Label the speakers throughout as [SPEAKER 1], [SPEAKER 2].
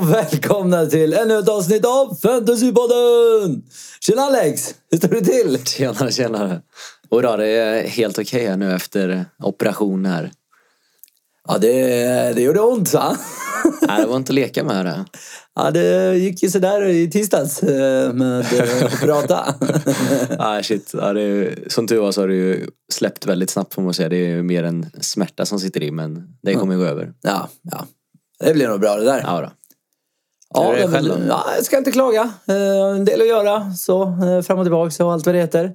[SPEAKER 1] välkomna till ännu ett avsnitt av Fantasypodden! Tjena Alex! Hur står det till?
[SPEAKER 2] Tjenare, tjenare. Och då, det är helt okej här nu efter operationen här.
[SPEAKER 1] Ja, det, det gjorde ont va?
[SPEAKER 2] Nej, det var inte att leka med det.
[SPEAKER 1] Ja, det gick ju sådär i tisdags eh, med eh, att prata.
[SPEAKER 2] Nej, shit. Ja, det är, som tur var så har det ju släppt väldigt snabbt får man säga. Det är ju mer en smärta som sitter i men det kommer ju gå över.
[SPEAKER 1] Ja, ja. Det blir nog bra det där.
[SPEAKER 2] Ja, då.
[SPEAKER 1] Ja,
[SPEAKER 2] Hur är det
[SPEAKER 1] men-
[SPEAKER 2] själv då?
[SPEAKER 1] ja, jag ska inte klaga. Eh, En del att göra. Så eh, fram och tillbaka och allt vad det heter.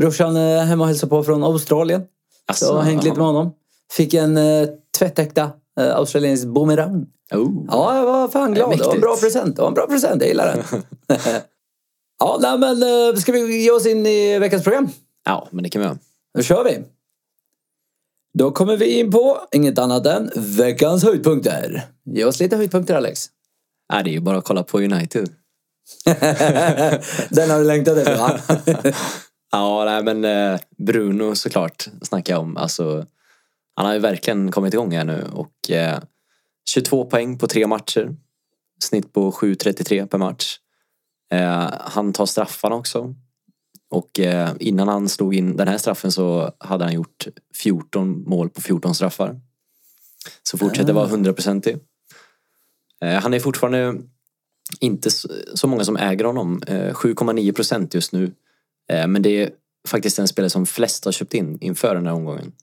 [SPEAKER 1] Brorsan eh, hemma och hälsade på från Australien. Så
[SPEAKER 2] Asså,
[SPEAKER 1] jag har hängt lite med
[SPEAKER 2] aha.
[SPEAKER 1] honom. Fick en eh, tvättäkta eh, australiensisk boomerang.
[SPEAKER 2] Oh.
[SPEAKER 1] Ja, jag var fan glad.
[SPEAKER 2] Det är
[SPEAKER 1] Det, var en
[SPEAKER 2] mäktigt.
[SPEAKER 1] bra present. Det var en bra present. Jag gillar den. ja, nej, men eh, ska vi ge oss in i veckans program?
[SPEAKER 2] ja, men det kan vi göra.
[SPEAKER 1] Nu kör vi! Då kommer vi in på inget annat än veckans höjdpunkter. Ge oss lite höjdpunkter Alex.
[SPEAKER 2] Nej, det är ju bara att kolla på United.
[SPEAKER 1] Den har du längtat efter va?
[SPEAKER 2] Ja, nej, men eh, Bruno såklart snackar jag om. Alltså, han har ju verkligen kommit igång här nu och eh, 22 poäng på tre matcher. Snitt på 7.33 per match. Eh, han tar straffarna också. Och eh, innan han slog in den här straffen så hade han gjort 14 mål på 14 straffar. Så fortsätter vara hundraprocentig. Eh, han är fortfarande inte s- så många som äger honom. Eh, 7,9 procent just nu. Eh, Men det är faktiskt den spelare som flest har köpt in inför den här omgången.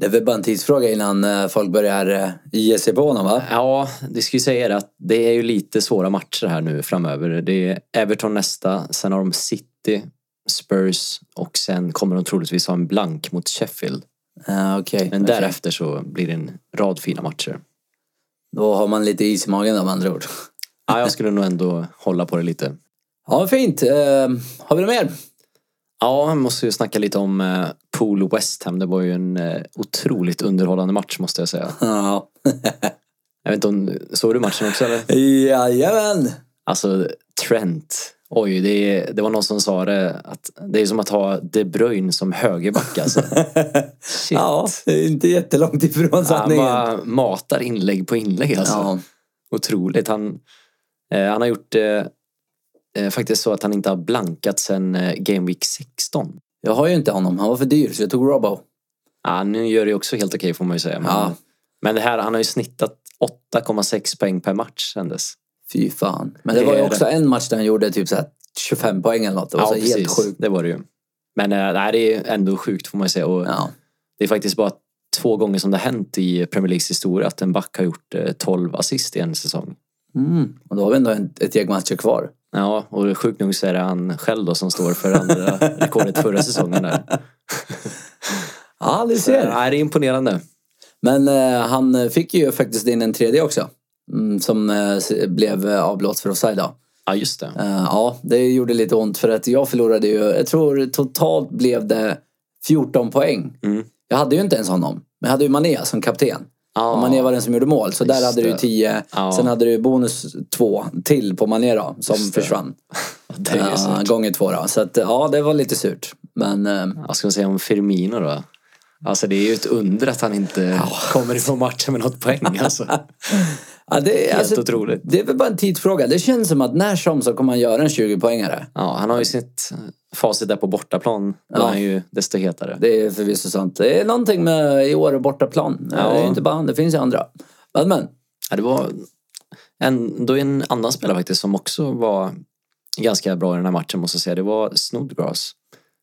[SPEAKER 1] Det är väl bara en tidsfråga innan eh, folk börjar eh, ge sig på honom va?
[SPEAKER 2] Ja, det ska ju säga det att det är ju lite svåra matcher här nu framöver. Det är Everton nästa, sen har de City, Spurs och sen kommer de troligtvis ha en blank mot Sheffield.
[SPEAKER 1] Ja, Eh, Okej.
[SPEAKER 2] Men
[SPEAKER 1] okej.
[SPEAKER 2] därefter så blir det en rad fina matcher.
[SPEAKER 1] Då har man lite is i magen om andra ord.
[SPEAKER 2] Ja, jag skulle nog ändå hålla på det lite.
[SPEAKER 1] Ja, fint. Eh, har vi något mer?
[SPEAKER 2] Ja, jag måste ju snacka lite om eh, Pool West Ham. Det var ju en eh, otroligt underhållande match måste jag säga.
[SPEAKER 1] Ja.
[SPEAKER 2] Jag vet inte om, såg du matchen också eller?
[SPEAKER 1] Jajamän!
[SPEAKER 2] Alltså Trent. Oj, det, det var någon som sa det. Att det är som att ha De Bruyne som högerback alltså. Shit.
[SPEAKER 1] Ja, inte jättelångt ifrån
[SPEAKER 2] han
[SPEAKER 1] sanningen.
[SPEAKER 2] bara matar inlägg på inlägg alltså.
[SPEAKER 1] Ja.
[SPEAKER 2] Otroligt. Han, eh, han har gjort eh, eh, faktiskt så att han inte har blankat sedan eh, Game Week 16.
[SPEAKER 1] Jag har ju inte honom, han var för dyr så jag tog Robbo.
[SPEAKER 2] Ja, nu gör det också helt okej får man ju säga. Men,
[SPEAKER 1] Ja.
[SPEAKER 2] men det här, han har ju snittat 8,6 poäng per match sen dess.
[SPEAKER 1] Fy fan. Men det,
[SPEAKER 2] Det
[SPEAKER 1] var ju
[SPEAKER 2] är
[SPEAKER 1] också en match där han gjorde typ så här 25 poäng eller något. Det var så helt sjukt.
[SPEAKER 2] Det var det ju. Men eh, nej, det är ändå sjukt får man ju säga. Och,
[SPEAKER 1] Ja.
[SPEAKER 2] Det är faktiskt bara två gånger som det har hänt i Premier Leagues historia att en back har gjort eh, 12 assist i en säsong.
[SPEAKER 1] Mm. Och då har vi ändå en, ett gäng matcher kvar.
[SPEAKER 2] Ja, och sjukt nog så är det han själv då som står för andra rekordet förra säsongen där.
[SPEAKER 1] Ja, du
[SPEAKER 2] Så,
[SPEAKER 1] ser.
[SPEAKER 2] nej, det är imponerande.
[SPEAKER 1] Men eh, han fick ju faktiskt in en tredje också. Mm, som eh, s- blev eh, avblåst för offside då.
[SPEAKER 2] Ja, just det.
[SPEAKER 1] Eh, ja, det gjorde lite ont för att jag förlorade ju, jag tror totalt blev det 14 poäng.
[SPEAKER 2] Mm.
[SPEAKER 1] Jag hade ju inte ens honom. Men jag hade ju Mané som kapten.
[SPEAKER 2] Ja,
[SPEAKER 1] Och Mané var den som gjorde mål. Så där
[SPEAKER 2] Ah, Just
[SPEAKER 1] hade du ju
[SPEAKER 2] det.
[SPEAKER 1] 10.
[SPEAKER 2] Ja.
[SPEAKER 1] Sen hade du ju bonus 2 till på Mané då, som
[SPEAKER 2] Just det.
[SPEAKER 1] försvann.
[SPEAKER 2] det är ju
[SPEAKER 1] Ja,
[SPEAKER 2] surt.
[SPEAKER 1] gånger två då. Så att, ja, det var lite surt. Men eh,
[SPEAKER 2] Vad ska man säga om Firmino då? Alltså det är ju ett under att han inte kommer ifrån matchen med något poäng alltså.
[SPEAKER 1] ja, det, är-
[SPEAKER 2] Helt
[SPEAKER 1] alltså,
[SPEAKER 2] otroligt.
[SPEAKER 1] det är väl bara en tidsfråga. Det känns som att när som så kommer han göra en 20-poängare.
[SPEAKER 2] Ja, han har ju sitt facit där på bortaplan. Då
[SPEAKER 1] Ja.
[SPEAKER 2] är han ju desto hetare.
[SPEAKER 1] Det är förvisso sant. Det är någonting med i år och bortaplan.
[SPEAKER 2] Ja.
[SPEAKER 1] Det är inte bara han, det finns ju andra. Men, men
[SPEAKER 2] Ja, det var en, då är en annan spelare faktiskt som också var ganska bra i den här matchen måste jag säga. Det var Snodgrass.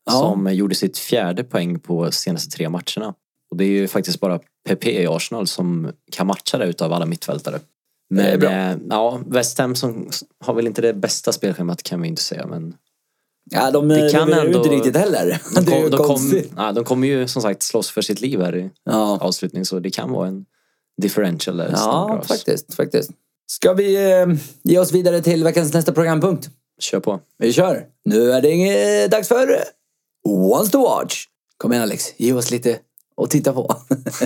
[SPEAKER 1] Ja.
[SPEAKER 2] Som gjorde sitt fjärde poäng på senaste tre matcherna. Och det är ju faktiskt bara PP i Arsenal som kan matcha det utav alla mittfältare. Men
[SPEAKER 1] Det är bra.
[SPEAKER 2] Eh, ja, West Ham som har väl inte det bästa spelschemat kan vi inte säga. Men
[SPEAKER 1] ja, de
[SPEAKER 2] Det
[SPEAKER 1] det
[SPEAKER 2] kan
[SPEAKER 1] levererar ju
[SPEAKER 2] ändå-
[SPEAKER 1] inte riktigt heller.
[SPEAKER 2] de,
[SPEAKER 1] det är ju
[SPEAKER 2] de, kom,
[SPEAKER 1] konstigt.
[SPEAKER 2] ja, de kommer ju som sagt slåss för sitt liv här i
[SPEAKER 1] Ja,
[SPEAKER 2] avslutning. Så det kan vara en differential där.
[SPEAKER 1] ja
[SPEAKER 2] Snodgrass.
[SPEAKER 1] faktiskt, faktiskt. Ska vi eh, ge oss vidare till veckans nästa programpunkt?
[SPEAKER 2] Kör på.
[SPEAKER 1] Vi kör! Nu är det inget eh, dags för Once to watch. Kom igen Alex, ge oss lite att titta på.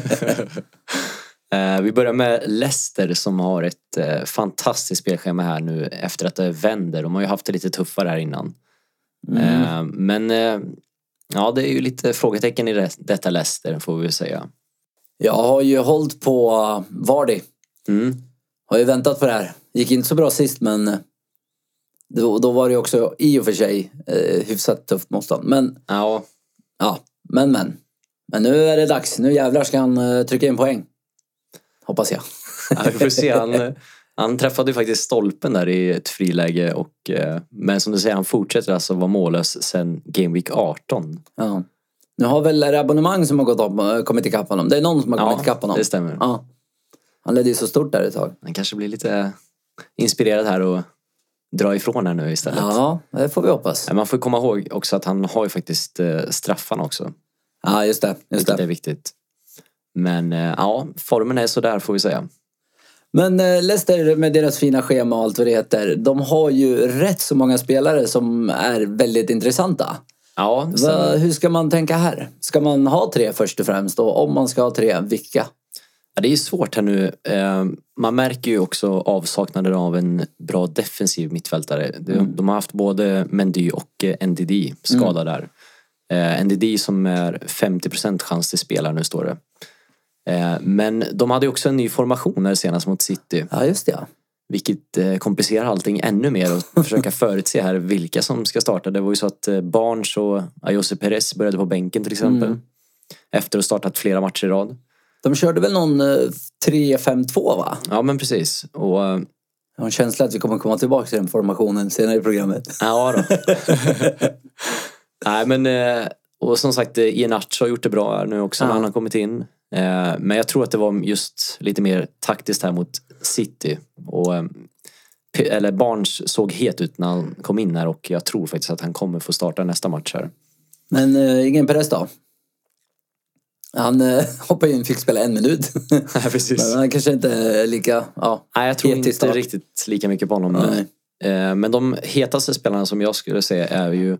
[SPEAKER 2] Eh, Vi börjar med Leicester som har ett eh, fantastiskt spelschema här nu efter att det vänder. De har ju haft det lite tuffare här innan. Eh, Men eh, ja, det är ju lite frågetecken i det- detta Leicester får vi väl säga.
[SPEAKER 1] Jag har ju hållit på eh, Vardy.
[SPEAKER 2] Mm.
[SPEAKER 1] Har ju väntat på det här. Gick inte så bra sist men eh, då, då var det också i och för sig eh, hyfsat tufft motstånd. Men
[SPEAKER 2] Ja,
[SPEAKER 1] ja, men men. Men nu är det dags. Nu jävlar ska han eh, trycka in poäng. Hoppas jag.
[SPEAKER 2] ja, vi får se. Han, eh, han träffade ju faktiskt stolpen där i ett friläge. Och, eh, men som du säger, han fortsätter alltså vara mållös sedan Game Week 18.
[SPEAKER 1] Ja. Nu har väl är det abonnemang som har gått upp, eh, kommit ikapp honom. Det är någon som har kommit ikapp honom.
[SPEAKER 2] det stämmer.
[SPEAKER 1] Ja. Han ledde ju så stort där ett tag.
[SPEAKER 2] Han kanske blir lite inspirerad här och drar ifrån här nu istället.
[SPEAKER 1] Ja, det får vi hoppas.
[SPEAKER 2] Men Man får komma ihåg också att han har ju faktiskt eh, straffarna också.
[SPEAKER 1] Ja, just det. Just
[SPEAKER 2] Vilket
[SPEAKER 1] det.
[SPEAKER 2] är viktigt. Men eh, ja, formen är sådär får vi säga.
[SPEAKER 1] Men eh, Leicester med deras fina schema och allt vad det heter. De har ju rätt så många spelare som är väldigt intressanta.
[SPEAKER 2] Ja, sen,
[SPEAKER 1] Va, hur ska man tänka här? Ska man ha tre först och främst? Och om man ska ha tre, vilka?
[SPEAKER 2] ja, det är ju svårt här nu. Eh, man märker ju också avsaknaden av en bra defensiv mittfältare. De,
[SPEAKER 1] Mm.
[SPEAKER 2] de har haft både Mendy och eh, NDD skada
[SPEAKER 1] Mm.
[SPEAKER 2] där. Eh, NDD som är 50 chans till spelare nu står det. Eh, men de hade ju också en ny formation här senast mot City.
[SPEAKER 1] Ja, just det. ja.
[SPEAKER 2] Vilket eh, komplicerar allting ännu mer och försöka förutse här vilka som ska starta. Det var ju så att eh, Barnes och Ayose Perez började på bänken till exempel. Efter att ha startat flera matcher i rad.
[SPEAKER 1] De körde väl någon eh, 3-5-2 va?
[SPEAKER 2] Ja men precis. Och, eh,
[SPEAKER 1] Jag har en känsla att vi kommer komma tillbaka till den formationen senare i programmet.
[SPEAKER 2] ja då. Nej men, eh, och som sagt eh, Iheanacho har gjort det bra här nu också när
[SPEAKER 1] Ja.
[SPEAKER 2] han har kommit in. Eh, Men jag tror att det var just lite mer taktiskt här mot City. Och, eh, P- eller Barnes såg het ut när han kom in här och jag tror faktiskt att han kommer få starta nästa match här.
[SPEAKER 1] Men eh, ingen Perez då? Han eh, hoppade in fick spela en minut.
[SPEAKER 2] Nej, precis.
[SPEAKER 1] Men han kanske inte är lika... Ja.
[SPEAKER 2] Nej, jag tror
[SPEAKER 1] Het i
[SPEAKER 2] inte
[SPEAKER 1] start.
[SPEAKER 2] riktigt lika mycket på honom.
[SPEAKER 1] Nej.
[SPEAKER 2] Eh, Men de hetaste spelarna som jag skulle säga är ju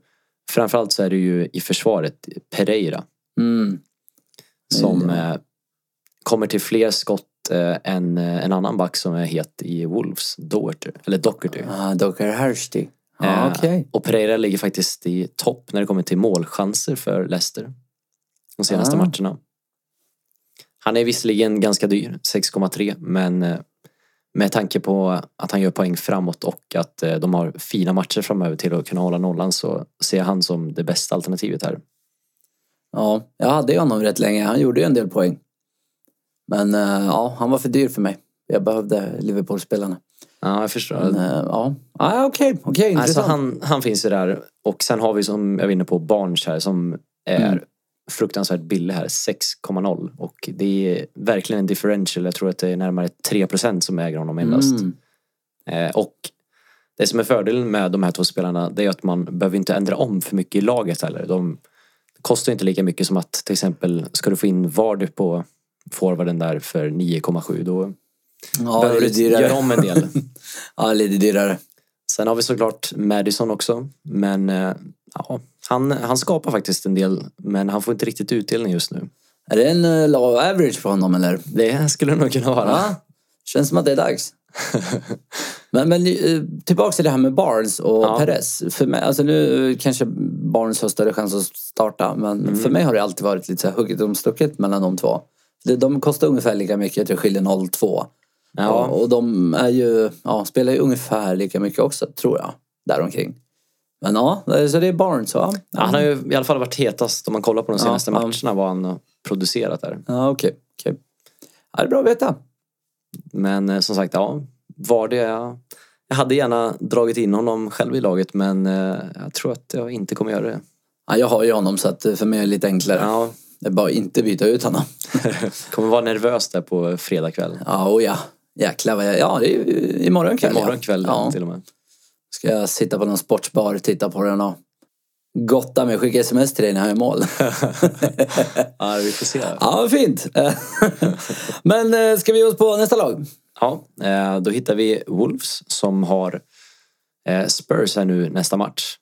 [SPEAKER 2] framförallt så är det ju i försvaret Pereira
[SPEAKER 1] Mm.
[SPEAKER 2] som eh, kommer till fler skott eh, än eh, en annan back som är het i Wolves, Doherty, eller Doherty.
[SPEAKER 1] Ah, Docker Hershti. Ja,
[SPEAKER 2] Eh,
[SPEAKER 1] okej.
[SPEAKER 2] Och Pereira ligger faktiskt i topp när det kommer till målchanser för Leicester. De senaste
[SPEAKER 1] Ah.
[SPEAKER 2] matcherna. Han är visserligen ganska dyr, 6,3, men eh, med tanke på att han gör poäng framåt och att eh, de har fina matcher framöver till att kunna hålla nollan så ser jag han som det bästa alternativet här.
[SPEAKER 1] Ja, jag hade ju honom rätt länge. Han gjorde ju en del poäng. Men eh, ja, han var för dyr för mig. Jag behövde Liverpool-spelarna.
[SPEAKER 2] Ja, jag förstår.
[SPEAKER 1] Men, eh, ja, ah, okej. okej,
[SPEAKER 2] Mm. alltså,
[SPEAKER 1] intressant.
[SPEAKER 2] han, han finns ju där och sen har vi som jag var inne på Barnes här som är
[SPEAKER 1] Mm.
[SPEAKER 2] fruktansvärt billig här, 6,0 och det är verkligen en differential. Jag tror att det är närmare 3% som äger honom endast.
[SPEAKER 1] Mm.
[SPEAKER 2] Eh, och det som är fördelen med de här två spelarna det är att man behöver inte ändra om för mycket i laget heller. De kostar inte lika mycket som att till exempel ska du få in Vardy på forwarden där för 9,7 då
[SPEAKER 1] Ja,
[SPEAKER 2] behöver
[SPEAKER 1] lite
[SPEAKER 2] du
[SPEAKER 1] dyrare.
[SPEAKER 2] göra om en del.
[SPEAKER 1] Ja, lite dyrare.
[SPEAKER 2] Sen har vi såklart Madison också. Men eh, ja, han, han skapar faktiskt en del, men han får inte riktigt utdelning just nu.
[SPEAKER 1] Är det en eh, law average på honom eller?
[SPEAKER 2] Det skulle det nog kunna vara.
[SPEAKER 1] Ja, känns som att det är dags. men men eh, tillbaka till det här med Barnes och
[SPEAKER 2] Ja.
[SPEAKER 1] Perez. För mig, alltså nu kanske Barnes har större chans att starta men
[SPEAKER 2] Mm.
[SPEAKER 1] för mig har det alltid varit lite så här hugget om stucket mellan de två. De- De kostar ungefär lika mycket, jag tror det skiljer 0,2.
[SPEAKER 2] Ja.
[SPEAKER 1] Och, och de är ju, ja, spelar ju ungefär lika mycket också tror jag. Däromkring. Men ja, eh, så det är Barnes va?
[SPEAKER 2] Ja, Han har ju i alla fall varit hetast om man kollar på de senaste
[SPEAKER 1] ja.
[SPEAKER 2] matcherna vad han har producerat där.
[SPEAKER 1] Ja, okej. okej. Ja, det är bra att veta.
[SPEAKER 2] Men eh, som sagt, ja, var det jag... Jag hade gärna dragit in honom själv i laget men eh, jag tror att jag inte kommer göra det.
[SPEAKER 1] Ja, jag har ju honom så att eh, för mig är det lite enklare.
[SPEAKER 2] Ja,
[SPEAKER 1] Det är bara att inte byta ut honom.
[SPEAKER 2] kommer vara nervös där på fredag kväll.
[SPEAKER 1] Ja, och ja. Jäklar vad jag... Ja, det är ju imorgon kväll.
[SPEAKER 2] Imorgon kväll
[SPEAKER 1] ja.
[SPEAKER 2] till och med.
[SPEAKER 1] Ska jag sitta på någon sportsbar, titta på den och gotta mig. Skicka sms till dig när jag är i mål.
[SPEAKER 2] Ja, vi får se.
[SPEAKER 1] ja, vad fint. Men eh, ska vi ge oss på nästa lag?
[SPEAKER 2] Ja, eh, då hittar vi Wolves som har eh, Spurs här nu nästa match.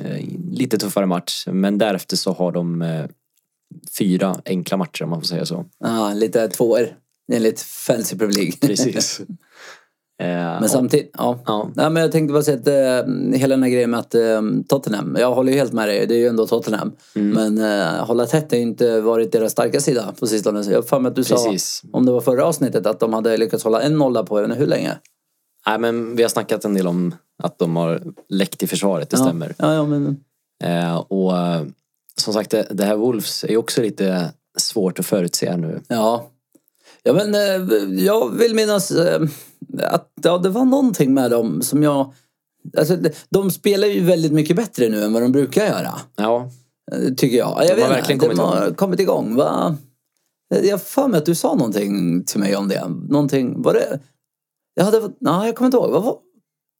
[SPEAKER 2] Eh, Lite tuffare match, men därefter så har de eh, fyra enkla matcher om man får säga så.
[SPEAKER 1] Ja, lite tvåor enligt Fancy Premier League.
[SPEAKER 2] Precis.
[SPEAKER 1] Men samtidigt, ja.
[SPEAKER 2] Eh, Ja,
[SPEAKER 1] Nej, men jag tänkte bara säga att eh, hela den här grejen med att eh, Tottenham, jag håller ju helt med dig, det är ju ändå Tottenham. Men eh, hålla tätt har ju inte varit deras starka sida på sistone. Så Jag har för mig att du
[SPEAKER 2] Precis.
[SPEAKER 1] sa, om det var förra avsnittet, att de hade lyckats hålla en nolla på jag vet inte hur länge.
[SPEAKER 2] Nej, men vi har snackat en del om att de har läckt i försvaret, det
[SPEAKER 1] ja.
[SPEAKER 2] stämmer.
[SPEAKER 1] Ja, ja, men
[SPEAKER 2] Eh, och eh, som sagt, det, det här Wolves är ju också lite svårt att förutse nu.
[SPEAKER 1] Ja. Ja, men eh, jag vill minnas eh, att ja, det var någonting med dem som jag... Alltså, de- de spelar ju väldigt mycket bättre nu än vad de brukar göra.
[SPEAKER 2] Ja,
[SPEAKER 1] eh, Tycker jag. jag
[SPEAKER 2] har
[SPEAKER 1] vet inte,
[SPEAKER 2] verkligen
[SPEAKER 1] de
[SPEAKER 2] kommit
[SPEAKER 1] har kommit igång. Va? Eh, Jag har för mig att du sa någonting till mig om det. Någonting, var det... Jag, hade, nej, jag kommer inte ihåg. Vad var,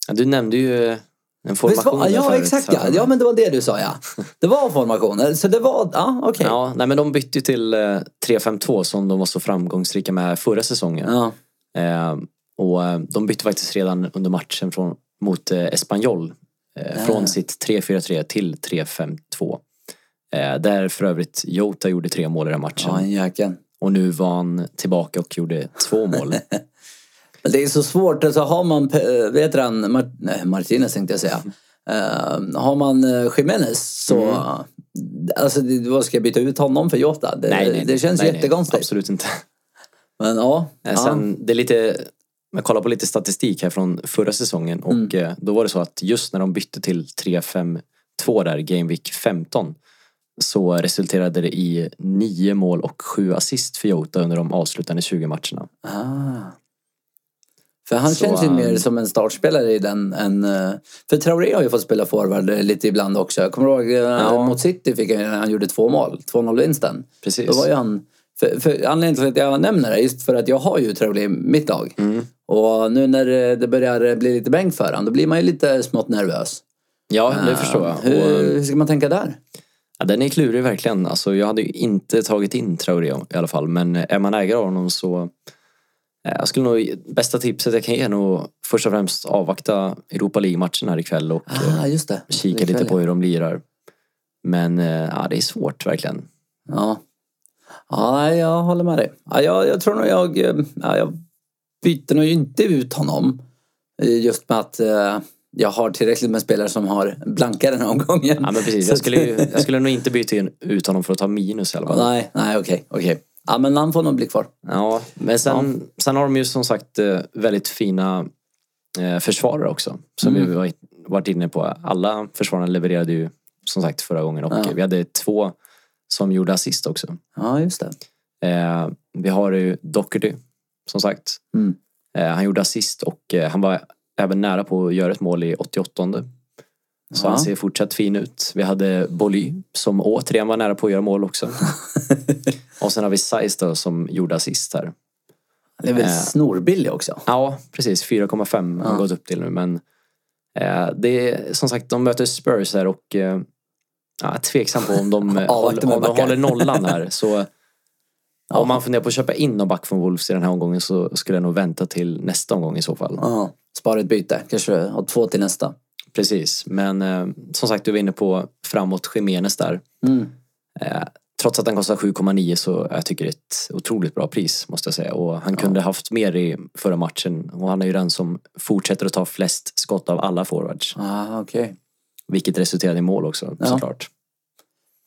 [SPEAKER 2] Ja, du nämnde ju en
[SPEAKER 1] visst
[SPEAKER 2] formation
[SPEAKER 1] var,
[SPEAKER 2] där
[SPEAKER 1] ja,
[SPEAKER 2] förut,
[SPEAKER 1] exakt
[SPEAKER 2] har
[SPEAKER 1] ja.
[SPEAKER 2] jag för mig.
[SPEAKER 1] ja. men det var det du sa ja. Det var formationen. Så det var... Ja, okej.
[SPEAKER 2] Ja, nej, men de bytte ju till eh, 3-5-2 som de var så framgångsrika med förra säsongen.
[SPEAKER 1] Ja.
[SPEAKER 2] Eh, och eh, de bytte faktiskt redan under matchen från, mot eh, Espanyol eh,
[SPEAKER 1] Ja.
[SPEAKER 2] från sitt 3-4-3 till 3-5-2. Eh, där för övrigt Jota gjorde tre mål i den matchen.
[SPEAKER 1] Ja, en jäkel.
[SPEAKER 2] Och nu var han tillbaka och gjorde två mål.
[SPEAKER 1] Men Det är så svårt. Alltså, har man, eh, vet han, Mart- nej, Martinez tänkte jag säga. Eh, har man uh, Jiménez så... Alltså, det, vad ska jag byta ut honom för Jota? Det, det känns
[SPEAKER 2] Mm. nej, nej,
[SPEAKER 1] jättekonstigt.
[SPEAKER 2] Absolut inte.
[SPEAKER 1] men ja.
[SPEAKER 2] Eh, Sen, det är lite, jag kollar på lite statistik här från förra säsongen och
[SPEAKER 1] Mm.
[SPEAKER 2] eh, då var det så att just när de bytte till 3-5-2 där, Game Week 15, så resulterade det i nio mål och sju assist för Jota under de avslutande 20 matcherna.
[SPEAKER 1] ja. Ah. För han
[SPEAKER 2] Så,
[SPEAKER 1] känns ju
[SPEAKER 2] um,
[SPEAKER 1] mer som en startspelare i den än... eh, för Traoré har ju fått spela forward eh, lite ibland också. Jag kommer ihåg eh, mot City fick han, han gjorde två mål. 2-0-vinsten.
[SPEAKER 2] Precis.
[SPEAKER 1] Då var ju han... För, för anledningen till att jag nämner det är just för att jag har ju Traoré i mitt lag.
[SPEAKER 2] Mm.
[SPEAKER 1] Och nu när eh, det börjar bli lite bänk för honom, då blir man ju lite smått nervös.
[SPEAKER 2] Ja, det förstår jag. Och,
[SPEAKER 1] Ah, Hur, hur ska man tänka där?
[SPEAKER 2] ja, den är klurig verkligen. Alltså, jag hade ju inte tagit in Traoré i alla fall, men eh, är man ägare av honom så eh, jag skulle nog, bästa tipset jag kan ge är nog först och främst avvakta Europa League-matchen här ikväll och eh,
[SPEAKER 1] Ah, just det.
[SPEAKER 2] kika lite på hur de lirar. Men eh, ja, det är svårt verkligen.
[SPEAKER 1] Ja. ja, nej, jag håller med dig. Ja, jag, jag tror nog jag... eh, Ja, jag byter nog inte ut honom. eh, Just med att eh, jag har tillräckligt med spelare som har blankar den här omgången.
[SPEAKER 2] Ja, men precis.
[SPEAKER 1] Så
[SPEAKER 2] Jag
[SPEAKER 1] att-
[SPEAKER 2] skulle, ju, jag skulle nog inte byta in- ut honom för att ta minus i alla fall.
[SPEAKER 1] Nej, nej, okej. okej. Ja, men han får nog bli kvar.
[SPEAKER 2] Ja, men sen, sen har de ju som sagt eh, väldigt fina eh, försvarare också. Som
[SPEAKER 1] Mm.
[SPEAKER 2] vi var- varit inne på. Alla försvararna levererade ju som sagt förra gången och
[SPEAKER 1] Ja.
[SPEAKER 2] vi hade två som gjorde assist också.
[SPEAKER 1] Ja, just det.
[SPEAKER 2] Eh, vi har ju Doherty som sagt.
[SPEAKER 1] Mm.
[SPEAKER 2] Eh, han gjorde assist och eh, han var även nära på att göra ett mål i 88. Så
[SPEAKER 1] Ja.
[SPEAKER 2] han ser fortsatt fin ut. Vi hade Boly som återigen var nära på att göra mål också. och sen har vi Saiz då som gjorde assist här.
[SPEAKER 1] Han är väl
[SPEAKER 2] Eh.
[SPEAKER 1] snorbillig också.
[SPEAKER 2] Ja, precis. 4,5 har
[SPEAKER 1] Ja.
[SPEAKER 2] gått upp till nu. Men eh, det är som sagt, de möter Spurs här och eh, ja, tveksam på om de, eh,
[SPEAKER 1] Avvakta
[SPEAKER 2] håller,
[SPEAKER 1] med
[SPEAKER 2] om de
[SPEAKER 1] backar.
[SPEAKER 2] håller nollan här. Så om man funderar på att köpa in någon back från Wolves i den här omgången så skulle jag nog vänta till nästa omgång i så fall.
[SPEAKER 1] Ja. Spara ett byte, kanske ha två till nästa.
[SPEAKER 2] Precis, men eh, som sagt du var inne på framåt Jiménez där.
[SPEAKER 1] Mm.
[SPEAKER 2] Eh, trots att han kostar 7,9 så jag tycker det är ett otroligt bra pris måste jag säga. Och han kunde haft mer i förra matchen och han är ju den som fortsätter att ta flest skott av alla forwards.
[SPEAKER 1] Ah, okej.
[SPEAKER 2] Vilket resulterade i mål också
[SPEAKER 1] Ja.
[SPEAKER 2] såklart.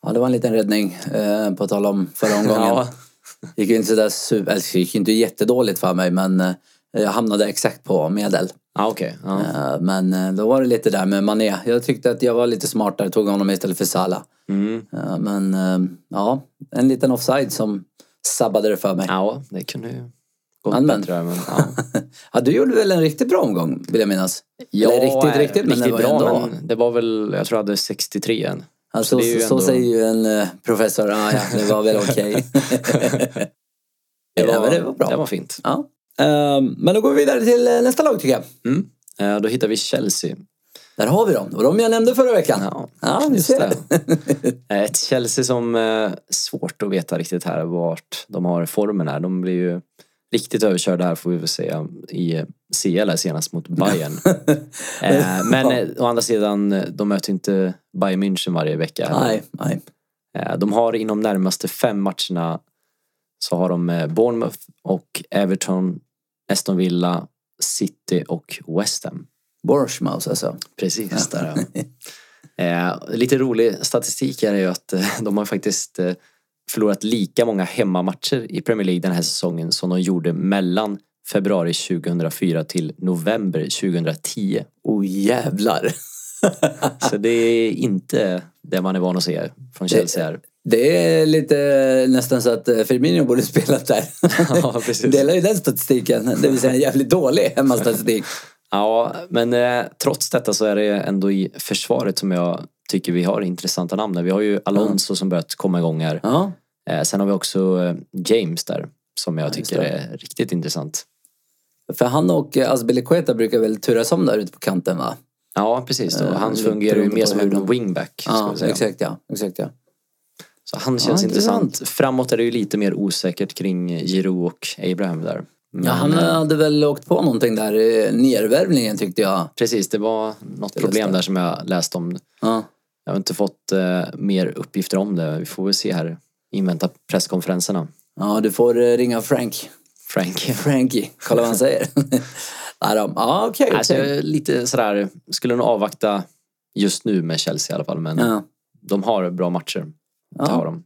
[SPEAKER 1] Ja, det var en liten räddning eh, på tal om förra omgången.
[SPEAKER 2] Ja.
[SPEAKER 1] gick ju inte sådär super, eller det gick ju inte jättedåligt för mig men eh, jag hamnade exakt på medel.
[SPEAKER 2] Ah, okej. ja.
[SPEAKER 1] Eh, Men eh, då var det lite där med Mané. Jag tyckte att jag var lite smartare, tog honom istället för Salah.
[SPEAKER 2] Mm.
[SPEAKER 1] Eh, Men eh, ja, en liten offside som sabbade det för mig.
[SPEAKER 2] ja, det kunde ju gått
[SPEAKER 1] Men, men.
[SPEAKER 2] bättre. Men, ja.
[SPEAKER 1] Ja, du gjorde väl en riktigt bra omgång vill jag minnas? eller riktigt,
[SPEAKER 2] eh,
[SPEAKER 1] riktigt, men det var
[SPEAKER 2] bra,
[SPEAKER 1] ändå.
[SPEAKER 2] men det var väl, jag tror jag hade 63 än.
[SPEAKER 1] Alltså,
[SPEAKER 2] det
[SPEAKER 1] så,
[SPEAKER 2] är ju
[SPEAKER 1] så
[SPEAKER 2] ändå-
[SPEAKER 1] säger ju en eh, professor, ah, ja, det var väl okej. ja, men det var bra.
[SPEAKER 2] Det var fint.
[SPEAKER 1] Ja. Eh, Men då går vi vidare till eh, nästa lag tycker jag.
[SPEAKER 2] Mm. Eh, då hittar vi Chelsea.
[SPEAKER 1] Där har vi dem. Och de jag nämnde förra veckan.
[SPEAKER 2] Ja,
[SPEAKER 1] Ja, vi
[SPEAKER 2] just
[SPEAKER 1] ser.
[SPEAKER 2] det. Eh, Ett Chelsea som eh, svårt att veta riktigt här vart de har formen här. De blir ju riktigt överkörda här får vi väl säga i CL här senast mot Bayern. Eh, Men eh, å andra sidan, eh, de möter inte Bayern München varje vecka. här.
[SPEAKER 1] Nej, nej.
[SPEAKER 2] Eh, De har inom närmaste fem matcherna så har de eh, Bournemouth och Everton, Aston Villa, City och West Ham.
[SPEAKER 1] Borsmaus alltså.
[SPEAKER 2] Precis. Där, ja. eh, lite rolig statistik här är ju att eh, de har faktiskt eh, förlorat lika många hemmamatcher i Premier League den här säsongen som de gjorde mellan februari 2004 till november 2010.
[SPEAKER 1] Oh jävlar.
[SPEAKER 2] Så det är inte det man är van att se från Chelsea här.
[SPEAKER 1] Det är lite nästan så att eh, Firmino borde spelat där.
[SPEAKER 2] Ja, precis.
[SPEAKER 1] Delar ju den statistiken. Det vill säga en jävligt dålig hemmastatistik.
[SPEAKER 2] Ja, men eh, trots detta så är det ändå i försvaret som jag tycker vi har intressanta namn. där. Vi har ju Alonso som börjat komma igång här.
[SPEAKER 1] Ja.
[SPEAKER 2] Eh, sen har vi också eh, James där som jag
[SPEAKER 1] just
[SPEAKER 2] tycker
[SPEAKER 1] det.
[SPEAKER 2] är riktigt intressant.
[SPEAKER 1] För han och eh, Azpilicueta brukar väl turas om där ute på kanten va?
[SPEAKER 2] Ja, precis. Och
[SPEAKER 1] Eh,
[SPEAKER 2] han
[SPEAKER 1] lite
[SPEAKER 2] fungerar ju
[SPEAKER 1] beroende
[SPEAKER 2] mer
[SPEAKER 1] på
[SPEAKER 2] som
[SPEAKER 1] hur
[SPEAKER 2] en
[SPEAKER 1] de-
[SPEAKER 2] wingback. ska
[SPEAKER 1] Ja,
[SPEAKER 2] vi säga.
[SPEAKER 1] exakt ja. Exakt ja.
[SPEAKER 2] Så han
[SPEAKER 1] Ja,
[SPEAKER 2] känns
[SPEAKER 1] intressant.
[SPEAKER 2] intressant. Framåt är det ju lite mer osäkert kring Giroud och Abraham där. Men,
[SPEAKER 1] ja han eh, hade väl åkt på någonting där i nervärvningen tyckte jag.
[SPEAKER 2] Precis, det var något
[SPEAKER 1] Det
[SPEAKER 2] problem
[SPEAKER 1] läste
[SPEAKER 2] där som jag läste om.
[SPEAKER 1] Ja.
[SPEAKER 2] Jag har inte fått eh, mer uppgifter om det. Vi får väl se här. Invänta presskonferenserna.
[SPEAKER 1] ja, du får eh, ringa Frank.
[SPEAKER 2] Frank.
[SPEAKER 1] Frankie, kolla vad han säger. Nej då. Ja, okej.
[SPEAKER 2] Alltså,
[SPEAKER 1] okej.
[SPEAKER 2] jag är lite sådär, skulle nog avvakta just nu med Chelsea i alla fall. Men
[SPEAKER 1] Ja.
[SPEAKER 2] de har bra matcher. Det
[SPEAKER 1] Ja.
[SPEAKER 2] har de.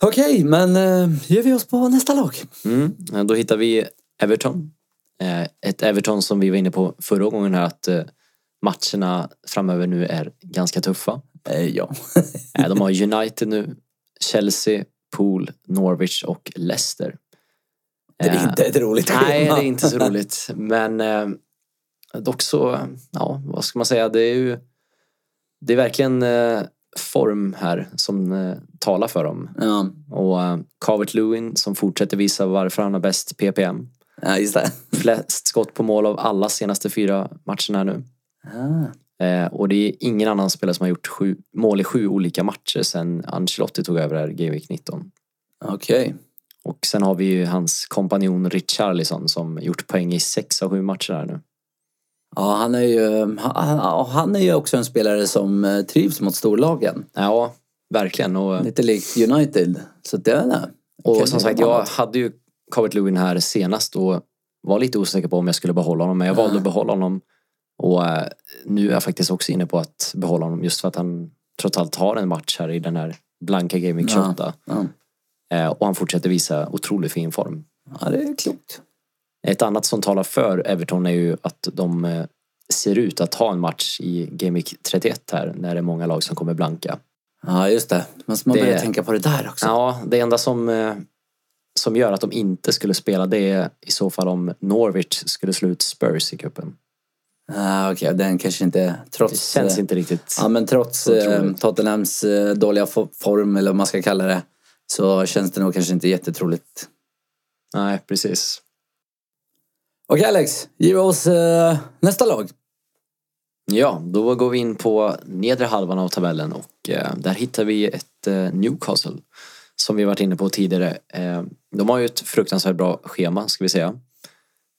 [SPEAKER 1] Okej, men eh, ger vi oss på nästa lag?
[SPEAKER 2] Mm. eh, Då hittar vi Everton. Eh, Ett Everton som vi var inne på förra gången här att eh, matcherna framöver nu är ganska tuffa.
[SPEAKER 1] Eh, ja.
[SPEAKER 2] Eh, De har United nu, Chelsea, Pool, Norwich och Leicester.
[SPEAKER 1] Det är
[SPEAKER 2] Eh,
[SPEAKER 1] inte ett roligt schema.
[SPEAKER 2] Nej, det är inte så roligt. Men eh, dock så, ja, vad ska man säga, det är ju det är verkligen eh, form här som eh, talar för dem.
[SPEAKER 1] Ja,
[SPEAKER 2] Och eh, Calvert-Lewin som fortsätter visa varför han har bäst PPM.
[SPEAKER 1] ja just det.
[SPEAKER 2] Flest skott på mål av alla senaste fyra matcherna nu.
[SPEAKER 1] Ah.
[SPEAKER 2] Eh, och det är ingen annan spelare som har gjort sju, mål i sju olika matcher sedan Ancelotti tog över här, G-Week 19.
[SPEAKER 1] Okej.
[SPEAKER 2] Och sen har vi ju hans kompanjon Richarlison som gjort poäng i sex av sju matcher här nu.
[SPEAKER 1] Ja, han är, ju, eh, han, han- han är ju också en spelare som eh, trivs mot storlagen.
[SPEAKER 2] Ja, verkligen. Och, eh,
[SPEAKER 1] Lite likt United. Så det är det.
[SPEAKER 2] och som sagt, jag hade ju Calvert Lewin här senast och var lite osäker på om jag skulle behålla honom, men jag valde att behålla honom. Och eh, nu är jag faktiskt också inne på att behålla honom just för att han trots allt har en match här i den här blanka Gaming 28.
[SPEAKER 1] Ja.
[SPEAKER 2] Eh, Och han fortsätter visa otroligt fin form.
[SPEAKER 1] ja, det är klokt.
[SPEAKER 2] Ett annat som talar för Everton är ju att de eh, ser ut att ha en match i Gaming 31 här när det är många lag som kommer blanka.
[SPEAKER 1] Ja, just det. Men man
[SPEAKER 2] Det-
[SPEAKER 1] börjar tänka på det där också.
[SPEAKER 2] Ja, det enda som, eh, som gör att de inte skulle spela det är i så fall om Norwich skulle slå ut Spurs i cupen.
[SPEAKER 1] Ah, Okej, den kanske inte... Trots,
[SPEAKER 2] Det känns
[SPEAKER 1] eh,
[SPEAKER 2] inte riktigt.
[SPEAKER 1] Ja, men trots
[SPEAKER 2] Otroligt.
[SPEAKER 1] eh, Tottenhams eh, dåliga fo- form, eller vad man ska kalla det, så känns det nog kanske inte jättetroligt.
[SPEAKER 2] Nej, precis.
[SPEAKER 1] Okej Alex, ge oss eh, nästa lag.
[SPEAKER 2] Ja, då går vi in på nedre halvan av tabellen och eh, där hittar vi ett eh, Newcastle som vi varit inne på tidigare. Eh, de har ju ett fruktansvärt bra schema ska vi säga.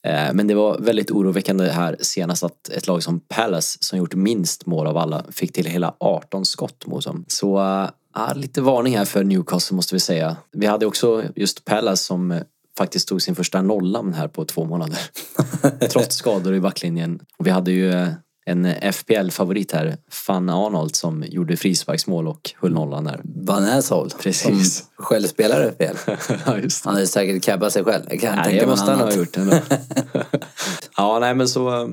[SPEAKER 2] Eh, men det var väldigt oroväckande här senast att ett lag som Palace som gjort minst mål av alla fick till hela 18 skott mot dem. Så eh, ja, lite varning här för Newcastle måste vi säga. Vi hade också just Palace som eh, faktiskt tog sin första nollan här på två månader Eh, trots skador i backlinjen. Och vi hade ju eh, en FPL-favorit här, Fan Arnold, som gjorde frisparksmål och höll nollan där.
[SPEAKER 1] Van Asshole.
[SPEAKER 2] Precis.
[SPEAKER 1] Som själv spelar FPL.
[SPEAKER 2] ja, just
[SPEAKER 1] Han har ju säkert cabbat sig själv. Jag kan
[SPEAKER 2] Nej,
[SPEAKER 1] tänka
[SPEAKER 2] det
[SPEAKER 1] mig
[SPEAKER 2] måste han
[SPEAKER 1] något
[SPEAKER 2] ha
[SPEAKER 1] annat.
[SPEAKER 2] gjort ändå. ja, nej men så eh,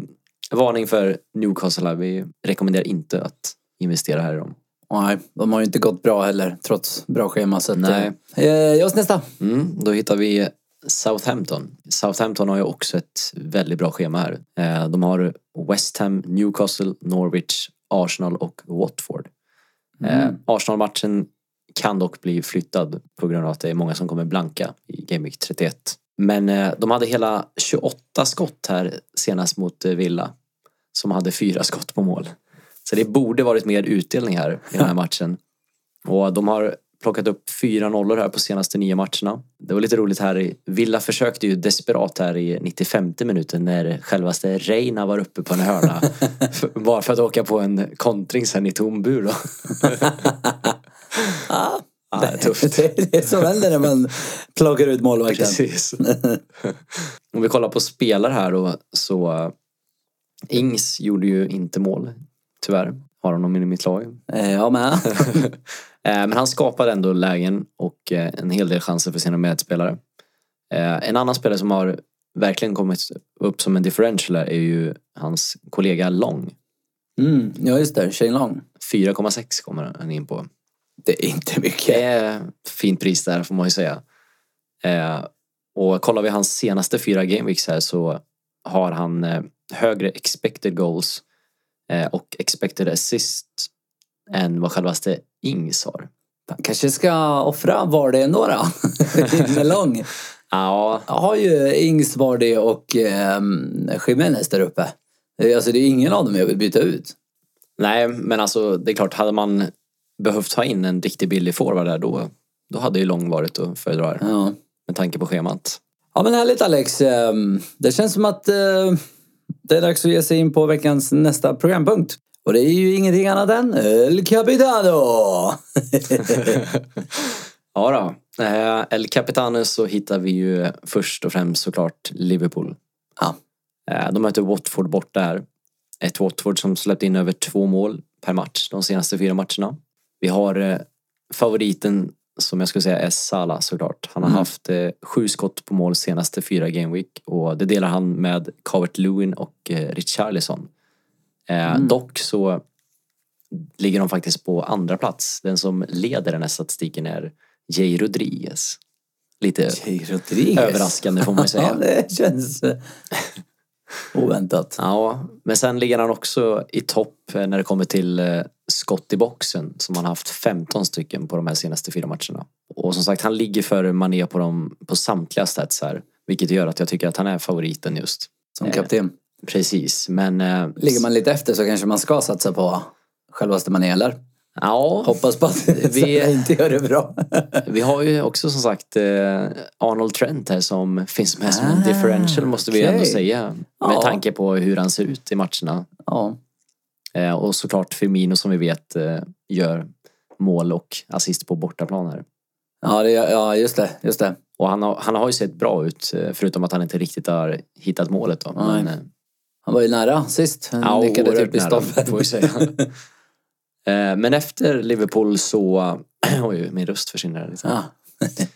[SPEAKER 2] varning för Newcastle här. Vi rekommenderar inte att investera här i dem.
[SPEAKER 1] Nej, de har ju inte gått bra heller, trots bra schema. Så att,
[SPEAKER 2] Nej.
[SPEAKER 1] Eh, ge oss nästa.
[SPEAKER 2] Mm, då hittar vi Southampton. Southampton har ju också ett väldigt bra schema här. Eh, De har West Ham, Newcastle, Norwich, Arsenal och Watford. Eh, Arsenal-matchen kan dock bli flyttad på grund av att det är många som kommer blanka i Game Week 31. Men eh, de hade hela 28 skott här senast mot eh, Villa som hade fyra skott på mål. Så det borde varit mer utdelning här i den här matchen. Och de har plockat upp fyra nollor här på senaste nio matcherna. Det var lite roligt här. i- Villa försökte ju desperat här i 95 minuten när självaste Reina var uppe på en hörna. F- Bara för att åka på en kontring sen i tom bur då.
[SPEAKER 1] Ah,
[SPEAKER 2] Ja, det är tufft.
[SPEAKER 1] det är det som händer när man plockar ut målvakten.
[SPEAKER 2] Precis. Om vi kollar på spelare här då så eh, Ings gjorde ju inte mål. Tyvärr har honom i mitt lag.
[SPEAKER 1] Eh, jag med.
[SPEAKER 2] Eh, Men han skapade ändå lägen och eh, en hel del chanser för sina medspelare. Eh, Eh, en annan spelare som har verkligen kommit upp som en differential här är ju hans kollega Long.
[SPEAKER 1] Mm, ja, just det. Shane Long.
[SPEAKER 2] 4,6 kommer han in på.
[SPEAKER 1] Det är inte mycket.
[SPEAKER 2] Det är ett fint pris där får man ju säga. Eh, och kollar vi hans senaste fyra gameweeks här så har han eh, högre expected goals eh, och expected assist än vad självaste Ings har.
[SPEAKER 1] Fan, Kanske ska offra Vardy ändå då? In med Long.
[SPEAKER 2] Ja,
[SPEAKER 1] Jag har ju Ings, Vardy och eh, Jimenez där uppe. Eh, Alltså det är ingen av dem jag vill byta ut.
[SPEAKER 2] nej men alltså det är klart hade man behövt ta in en riktigt billig forward där då, då hade ju Long varit att föredra här,
[SPEAKER 1] Ja.
[SPEAKER 2] med tanke på schemat.
[SPEAKER 1] Ja men härligt Alex. Ehm, Det känns som att eh, det är dags att ge sig in på veckans nästa programpunkt. Och det är ju ingenting annat än El Capitano!
[SPEAKER 2] Ja då. Eh, El Capitano så hittar vi ju först och främst såklart Liverpool.
[SPEAKER 1] Ja.
[SPEAKER 2] Eh, De möter Watford borta här. Ett Watford som släppt in över två mål per match de senaste fyra matcherna. Vi har eh, favoriten som jag skulle säga är Salah såklart. Han har
[SPEAKER 1] Mm.
[SPEAKER 2] haft eh, sju skott på mål senaste fyra game week och det delar han med Calvert Lewin och eh, Richarlison. Eh,
[SPEAKER 1] Mm.
[SPEAKER 2] Dock så ligger de faktiskt på andra plats. Den som leder den här statistiken är Jay Rodriguez. Lite
[SPEAKER 1] Jay Rodriguez.
[SPEAKER 2] överraskande får man ju
[SPEAKER 1] Ja
[SPEAKER 2] säga.
[SPEAKER 1] det känns eh, oväntat.
[SPEAKER 2] Ja, men sen ligger han också i topp eh, när det kommer till eh, skott i boxen som han haft 15 stycken på de här senaste fyra matcherna. Och som sagt, han ligger före Mané på, dem, på samtliga stats här, vilket gör att jag tycker att han är favoriten just. Eh,
[SPEAKER 1] Som kapten.
[SPEAKER 2] Precis, men... eh,
[SPEAKER 1] Eh, Ligger man lite efter så kanske man ska satsa på självaste man eller?
[SPEAKER 2] Ja,
[SPEAKER 1] Hoppas på att vi inte gör det bra.
[SPEAKER 2] vi har ju också som sagt eh, Arnold Trent här som finns med som en
[SPEAKER 1] Ah,
[SPEAKER 2] differential måste vi ändå
[SPEAKER 1] okej.
[SPEAKER 2] säga. Med
[SPEAKER 1] Ja.
[SPEAKER 2] tanke på hur han ser ut i matcherna.
[SPEAKER 1] ja.
[SPEAKER 2] Eh, och såklart Firmino som vi vet eh, gör mål och assist på bortaplan här.
[SPEAKER 1] Ja, det, ja, just det. Just det.
[SPEAKER 2] Och han har, han har ju sett bra ut eh, förutom att han inte riktigt har hittat målet då.
[SPEAKER 1] Nej.
[SPEAKER 2] Men, eh,
[SPEAKER 1] Han var ju nära sist. Han
[SPEAKER 2] ja,
[SPEAKER 1] lyckades
[SPEAKER 2] oerhört
[SPEAKER 1] typ i
[SPEAKER 2] nära,
[SPEAKER 1] stolpen.
[SPEAKER 2] får vi säga. Eh, Men efter Liverpool så... Oj, min röst försvinner här lite.
[SPEAKER 1] Ja.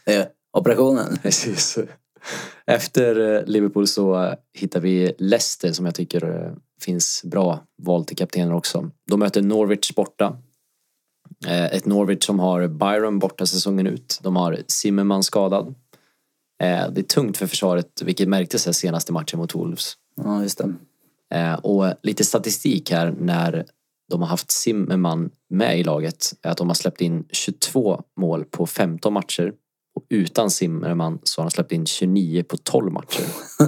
[SPEAKER 1] Det är Operationen.
[SPEAKER 2] Precis. Efter eh, Liverpool så eh, hittar vi Leicester som jag tycker eh, finns bra val till kaptener också. De möter Norwich borta. Eh, Ett Norwich som har Byron borta säsongen ut. De har Zimmerman skadad. Eh, Det är tungt för försvaret, vilket märktes här senaste matchen mot Wolves.
[SPEAKER 1] Ja, just det.
[SPEAKER 2] Eh, Och lite statistik här när de har haft Zimmerman med i laget är att de har släppt in 22 mål på 15 matcher. Och utan Zimmerman så har de släppt in 29 på 12 matcher.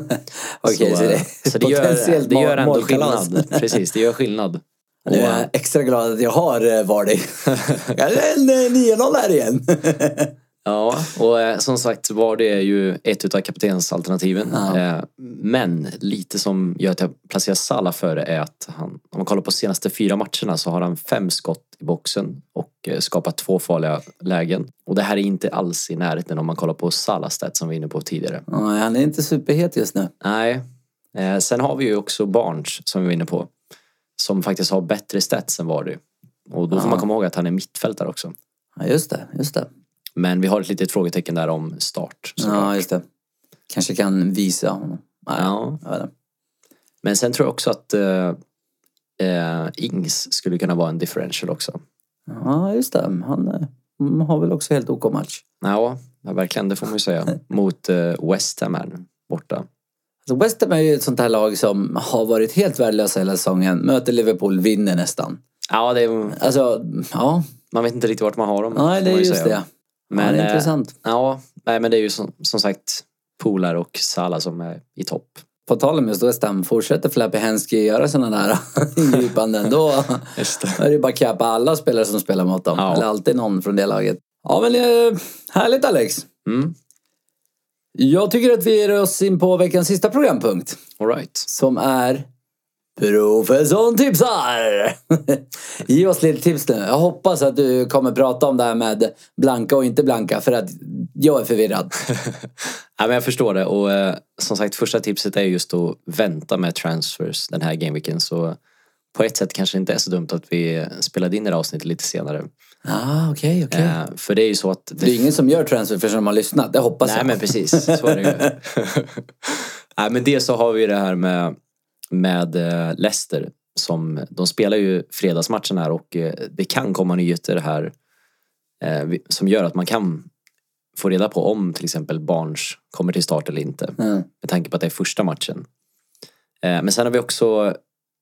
[SPEAKER 1] Okej,
[SPEAKER 2] så,
[SPEAKER 1] så,
[SPEAKER 2] eh, så det gör,
[SPEAKER 1] potentiellt
[SPEAKER 2] det gör
[SPEAKER 1] mål-
[SPEAKER 2] ändå
[SPEAKER 1] målkalas.
[SPEAKER 2] skillnad. Precis, det gör skillnad. Och, eh,
[SPEAKER 1] Nu är jag extra glad att jag har eh, Vardy. Kanske en eh, 9-0 här igen.
[SPEAKER 2] ja, och eh, som sagt var det är ju ett utav kaptensalternativen.
[SPEAKER 1] Ja.
[SPEAKER 2] Eh, Men lite som gör att jag placerar Salah före är att han, om man kollar på senaste fyra matcherna så har han fem skott i boxen och eh, skapat två farliga lägen. Och det här är inte alls i närheten om man kollar på Salahs stats som vi var inne på tidigare.
[SPEAKER 1] Nej, han är inte superhet just nu.
[SPEAKER 2] Nej. Eh, sen har vi ju också Barnes som vi var inne på. Som faktiskt har bättre stats än Vardy. Och då får
[SPEAKER 1] Ja.
[SPEAKER 2] man komma ihåg att han är mittfältare också.
[SPEAKER 1] Ja, just det. Just det.
[SPEAKER 2] Men vi har ett litet frågetecken där om start.
[SPEAKER 1] Ja,
[SPEAKER 2] såklart.
[SPEAKER 1] just det. Kanske kan visa honom. Nej,
[SPEAKER 2] Ja.
[SPEAKER 1] jag vet inte.
[SPEAKER 2] Men sen tror jag också att eh, eh, Ings skulle kunna vara en differential också.
[SPEAKER 1] ja, just det. Han eh, mm, har väl också helt OK match.
[SPEAKER 2] Ja, ja verkligen. Det får man ju säga. Mot eh, West Ham här borta.
[SPEAKER 1] Alltså West Ham är ju ett sånt här lag som har varit helt värdelösa hela säsongen. Möter Liverpool, vinner nästan.
[SPEAKER 2] Ja, det är,
[SPEAKER 1] Alltså, ja.
[SPEAKER 2] man vet inte riktigt vart man har dem.
[SPEAKER 1] Nej, det
[SPEAKER 2] får man
[SPEAKER 1] är
[SPEAKER 2] ju
[SPEAKER 1] just
[SPEAKER 2] säga.
[SPEAKER 1] det. Men,
[SPEAKER 2] Men,
[SPEAKER 1] det är
[SPEAKER 2] eh,
[SPEAKER 1] intressant.
[SPEAKER 2] Ja, nej, men det är ju som, som sagt Polar och Salah som är i topp.
[SPEAKER 1] På tal om just West Ham, fortsätter Flappy Hensky göra sådana där ingripanden då
[SPEAKER 2] Just
[SPEAKER 1] är det ju bara att cappa alla spelare som spelar mot dem.
[SPEAKER 2] Ja.
[SPEAKER 1] Eller alltid någon från det laget. Ja men eh, härligt Alex.
[SPEAKER 2] Mm,
[SPEAKER 1] Jag tycker att vi ger oss in på veckans sista programpunkt.
[SPEAKER 2] all right.
[SPEAKER 1] Som är Professorn tipsar! Ge oss lite tips nu. Jag hoppas att du kommer prata om det här med blanka och inte blanka för att jag är förvirrad.
[SPEAKER 2] Ja, men jag förstår det. Och eh, som sagt, första tipset är just att vänta med transfers den här gameweeken. Så på ett sätt kanske inte är så dumt att vi spelade in det här avsnittet lite senare.
[SPEAKER 1] Ah, okej, okej.
[SPEAKER 2] Eh, för det är ju så att...
[SPEAKER 1] Det är ingen som gör transfer förrän de har lyssnat, det hoppas
[SPEAKER 2] Nej
[SPEAKER 1] jag.
[SPEAKER 2] men precis, så är det ju. Nej men det så har vi det här med, med eh, Leicester. Som, de spelar ju fredagsmatchen här och eh, det kan komma nyheter här eh, vi- som gör att man kan få reda på om till exempel Barnes kommer till start eller inte.
[SPEAKER 1] Mm.
[SPEAKER 2] Med tanke på att det är första matchen. Eh, Men sen har vi också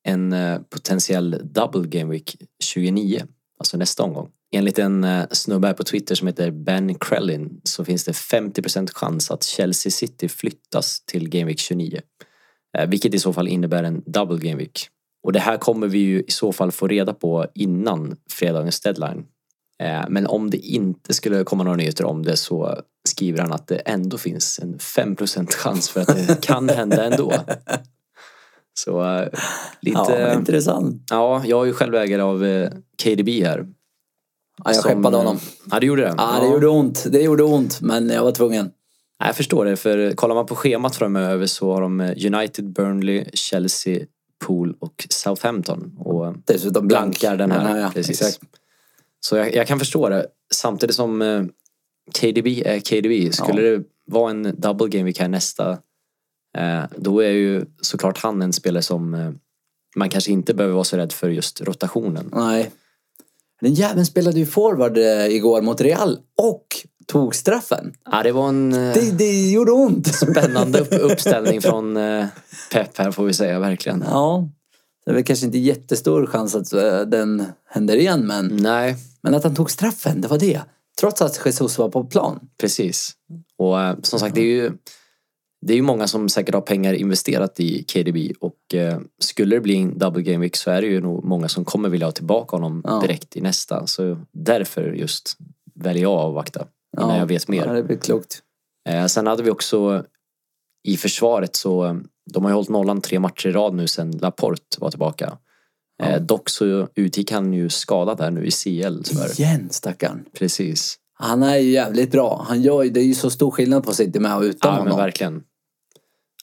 [SPEAKER 2] en eh, potentiell double game week 29. Alltså nästa omgång. Enligt en eh, snubbe här på Twitter som heter Ben Krellin så finns det 50% chans att Chelsea City flyttas till Game Week 29. Eh, Vilket i så fall innebär en double game week. Och det här kommer vi ju i så fall få reda på innan fredagens deadline. Eh, Men om det inte skulle komma några nyheter om det så skriver han att det ändå finns en 5% chans för att det kan hända ändå. Så eh, lite...
[SPEAKER 1] Ja, men intressant.
[SPEAKER 2] Ja, jag är ju själv ägare av eh, KDB här.
[SPEAKER 1] Ja, jag
[SPEAKER 2] Som-
[SPEAKER 1] skeppade honom.
[SPEAKER 2] Ja, du gjorde det?
[SPEAKER 1] Ja, det gjorde ont. Det gjorde ont, men jag var tvungen.
[SPEAKER 2] Ja, Jag förstår det, för kollar man på schemat framöver så har de eh, United, Burnley, Chelsea, Pool och Southampton. Och
[SPEAKER 1] Dessutom blank.
[SPEAKER 2] blankar den här.
[SPEAKER 1] ja,
[SPEAKER 2] precis.
[SPEAKER 1] Exakt.
[SPEAKER 2] Så jag, jag kan förstå det. Samtidigt som eh, KDB är KDB, skulle det vara en double game week här nästa, eh, då är ju såklart han en spelare som eh, man kanske inte behöver vara så rädd för just rotationen.
[SPEAKER 1] Nej. Den jäveln spelade ju forward eh, igår mot Real och tog straffen.
[SPEAKER 2] Ja, det var en... eh,
[SPEAKER 1] Det, det gjorde ont.
[SPEAKER 2] Spännande upp, uppställning från eh, Pep här får vi säga verkligen.
[SPEAKER 1] Ja. Det är väl kanske inte jättestor chans att eh, den händer igen, men,
[SPEAKER 2] Nej,
[SPEAKER 1] men att han tog straffen, det var det. Trots att Jesus var på plan.
[SPEAKER 2] precis. Och eh, som sagt, det är ju det är ju många som säkert har pengar investerat i KDB och eh, skulle det bli en double game week så är det ju nog många som kommer vilja ha tillbaka honom
[SPEAKER 1] Ja.
[SPEAKER 2] direkt i nästa. Så därför just väljer jag att avvakta innan jag vet mer.
[SPEAKER 1] Ja, det blir klokt.
[SPEAKER 2] Eh, sen hade vi också i försvaret så eh, de har ju hållit nollan tre matcher i rad nu sen Laporte var tillbaka. Eh, dock så utgick han ju skadad där nu i CL tyvärr.
[SPEAKER 1] Igen, stackarn.
[SPEAKER 2] Precis.
[SPEAKER 1] Han är ju jävligt bra. Han gör, ju- det är ju så stor skillnad på City med och utan
[SPEAKER 2] Ja men
[SPEAKER 1] honom.
[SPEAKER 2] verkligen.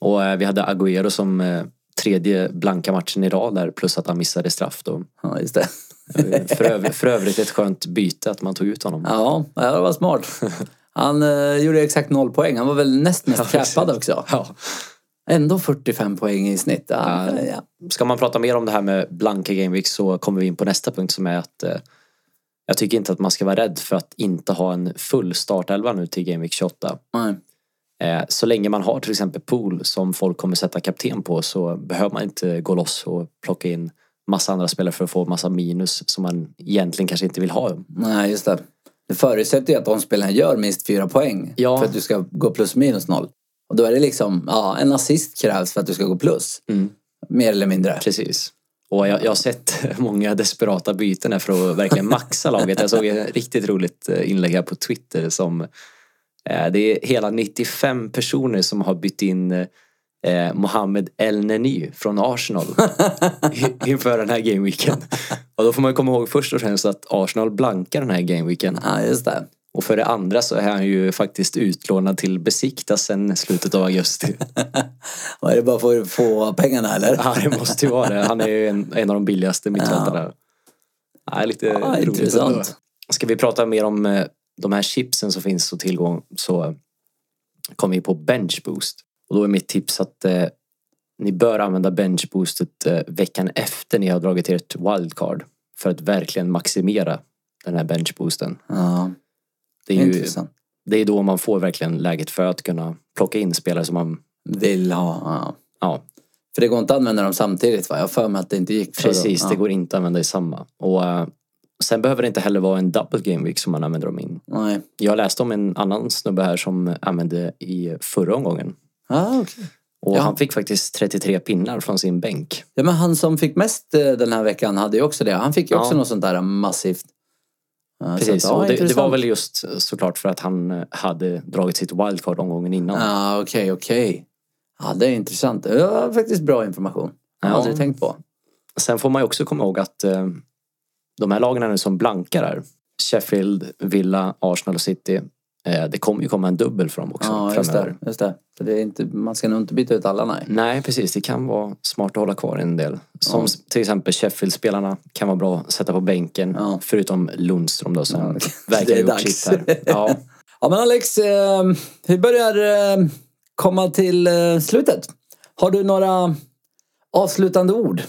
[SPEAKER 2] Och eh, vi hade Agüero som eh, tredje blanka matchen i rad där plus att han missade straff då.
[SPEAKER 1] Ja, just det.
[SPEAKER 2] Eh, För, öv- för övrigt ett skönt byte att man tog ut honom.
[SPEAKER 1] Ja, ja, det var smart. Han eh, gjorde exakt noll poäng. Han var väl näst mest
[SPEAKER 2] Ja, precis.
[SPEAKER 1] cappad också.
[SPEAKER 2] Ja.
[SPEAKER 1] Ändå 45 poäng i snitt. Ja,
[SPEAKER 2] Ja.
[SPEAKER 1] ja.
[SPEAKER 2] Ska man prata mer om det här med blanka gameweeks så kommer vi in på nästa punkt som är att eh, jag tycker inte att man ska vara rädd för att inte ha en full startelva nu till gameweek 28.
[SPEAKER 1] Nej.
[SPEAKER 2] Eh, så länge man har till exempel pool som folk kommer sätta kapten på så behöver man inte gå loss och plocka in massa andra spelare för att få massa minus som man egentligen kanske inte vill ha.
[SPEAKER 1] Nej, just det. Det förutsätter ju att de spelarna gör minst fyra poäng
[SPEAKER 2] Ja.
[SPEAKER 1] för att du ska gå plus minus noll. Och då är det liksom, ja, en assist krävs för att du ska gå plus. Mer eller mindre.
[SPEAKER 2] Mm. Precis. Och jag, jag har sett många desperata byten här för att verkligen maxa laget. Jag såg ett riktigt roligt eh, inlägg här på Twitter som eh, det är hela 95 personer som har bytt in eh, Mohamed El-Neni från Arsenal i- inför den här gameweeken. Och då får man ju komma ihåg först och främst att Arsenal blankar den här gameweeken.
[SPEAKER 1] Ja, just det.
[SPEAKER 2] Och för det andra så är han ju faktiskt utlånad till Besiktas sen slutet av augusti.
[SPEAKER 1] Och är det bara för att få pengarna eller?
[SPEAKER 2] Ja, det måste ju vara det. Han är ju en, en av de billigaste mittfältarna. Ja. lite
[SPEAKER 1] Ja,
[SPEAKER 2] roligt
[SPEAKER 1] intressant.
[SPEAKER 2] ändå. Ska vi prata mer om eh, de här chipsen som finns och tillgång så kommer vi på bench boost. Och då är mitt tips att eh, ni bör använda bench boostet eh, veckan efter ni har dragit ert wildcard för att verkligen maximera den här bench boosten.
[SPEAKER 1] Ja,
[SPEAKER 2] Det är ju
[SPEAKER 1] intressant.
[SPEAKER 2] det är då man får verkligen läget för att kunna plocka in spelare som man,
[SPEAKER 1] Vill ha, ja.
[SPEAKER 2] ja,
[SPEAKER 1] För det går inte att använda dem samtidigt va? Jag har för mig att det inte gick. för
[SPEAKER 2] Precis,
[SPEAKER 1] dem.
[SPEAKER 2] det
[SPEAKER 1] Alltså, ja.
[SPEAKER 2] går inte att använda i samma. Och, eh, sen behöver det inte heller vara en double game week som man använder dem in.
[SPEAKER 1] Nej.
[SPEAKER 2] Jag läste om en annan snubbe här som använde i förra omgången.
[SPEAKER 1] Ja, okej.
[SPEAKER 2] Och
[SPEAKER 1] Ja.
[SPEAKER 2] han fick faktiskt 33 pinnar från sin bänk.
[SPEAKER 1] Ja, men han som fick mest eh, den här veckan hade ju också det. Han fick ju också
[SPEAKER 2] Ja.
[SPEAKER 1] något sånt där massivt. Ja, så
[SPEAKER 2] Precis,
[SPEAKER 1] att, Alltså, ja,
[SPEAKER 2] och det, det var
[SPEAKER 1] intressant.
[SPEAKER 2] väl just såklart för att han eh, hade dragit sitt wildcard omgången innan.
[SPEAKER 1] Ja, okej, okej. Ja, det är intressant. Det var faktiskt bra information. Jag har
[SPEAKER 2] Ja.
[SPEAKER 1] aldrig tänkt på.
[SPEAKER 2] Sen får man ju också komma ihåg att eh, de här lagen här nu som blankar är Sheffield, Villa, Arsenal och City. Eh, Det kommer ju komma en dubbel från dem också
[SPEAKER 1] Ja, just
[SPEAKER 2] framöver. Mm.
[SPEAKER 1] det. Just det. Så det är inte, man ska nog inte byta ut alla, nej.
[SPEAKER 2] Nej, precis. Det kan vara smart att hålla kvar en del. Som
[SPEAKER 1] Ja.
[SPEAKER 2] s- till exempel Sheffield-spelarna kan vara bra att sätta på bänken.
[SPEAKER 1] Ja.
[SPEAKER 2] Förutom Lundström då som
[SPEAKER 1] Ja,
[SPEAKER 2] verkar
[SPEAKER 1] det är
[SPEAKER 2] ha gjort
[SPEAKER 1] dags.
[SPEAKER 2] sitt här. Ja,
[SPEAKER 1] Ja, men Alex, eh, vi börjar eh, komma till eh, slutet. Har du några avslutande ord?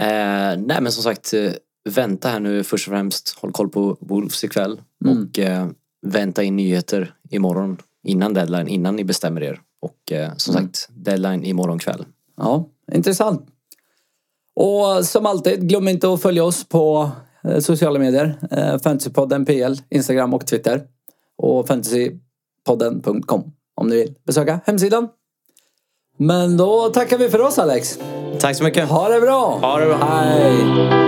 [SPEAKER 2] Eh, nej men som sagt, eh, vänta här nu först och främst. Håll koll på Wolves ikväll.
[SPEAKER 1] Mm.
[SPEAKER 2] Och eh, vänta in nyheter imorgon. Innan deadline, innan ni bestämmer er. Och eh, som
[SPEAKER 1] Mm.
[SPEAKER 2] sagt, deadline imorgon kväll.
[SPEAKER 1] Ja, intressant. Och som alltid, glöm inte att följa oss på eh, sociala medier. Eh, Fantasypodden PL, Instagram och Twitter. Och fantasypodden.com om ni vill besöka hemsidan. Men då tackar vi för oss Alex.
[SPEAKER 2] Tack så mycket.
[SPEAKER 1] Ha det bra!
[SPEAKER 2] Ha det bra.
[SPEAKER 1] Hej!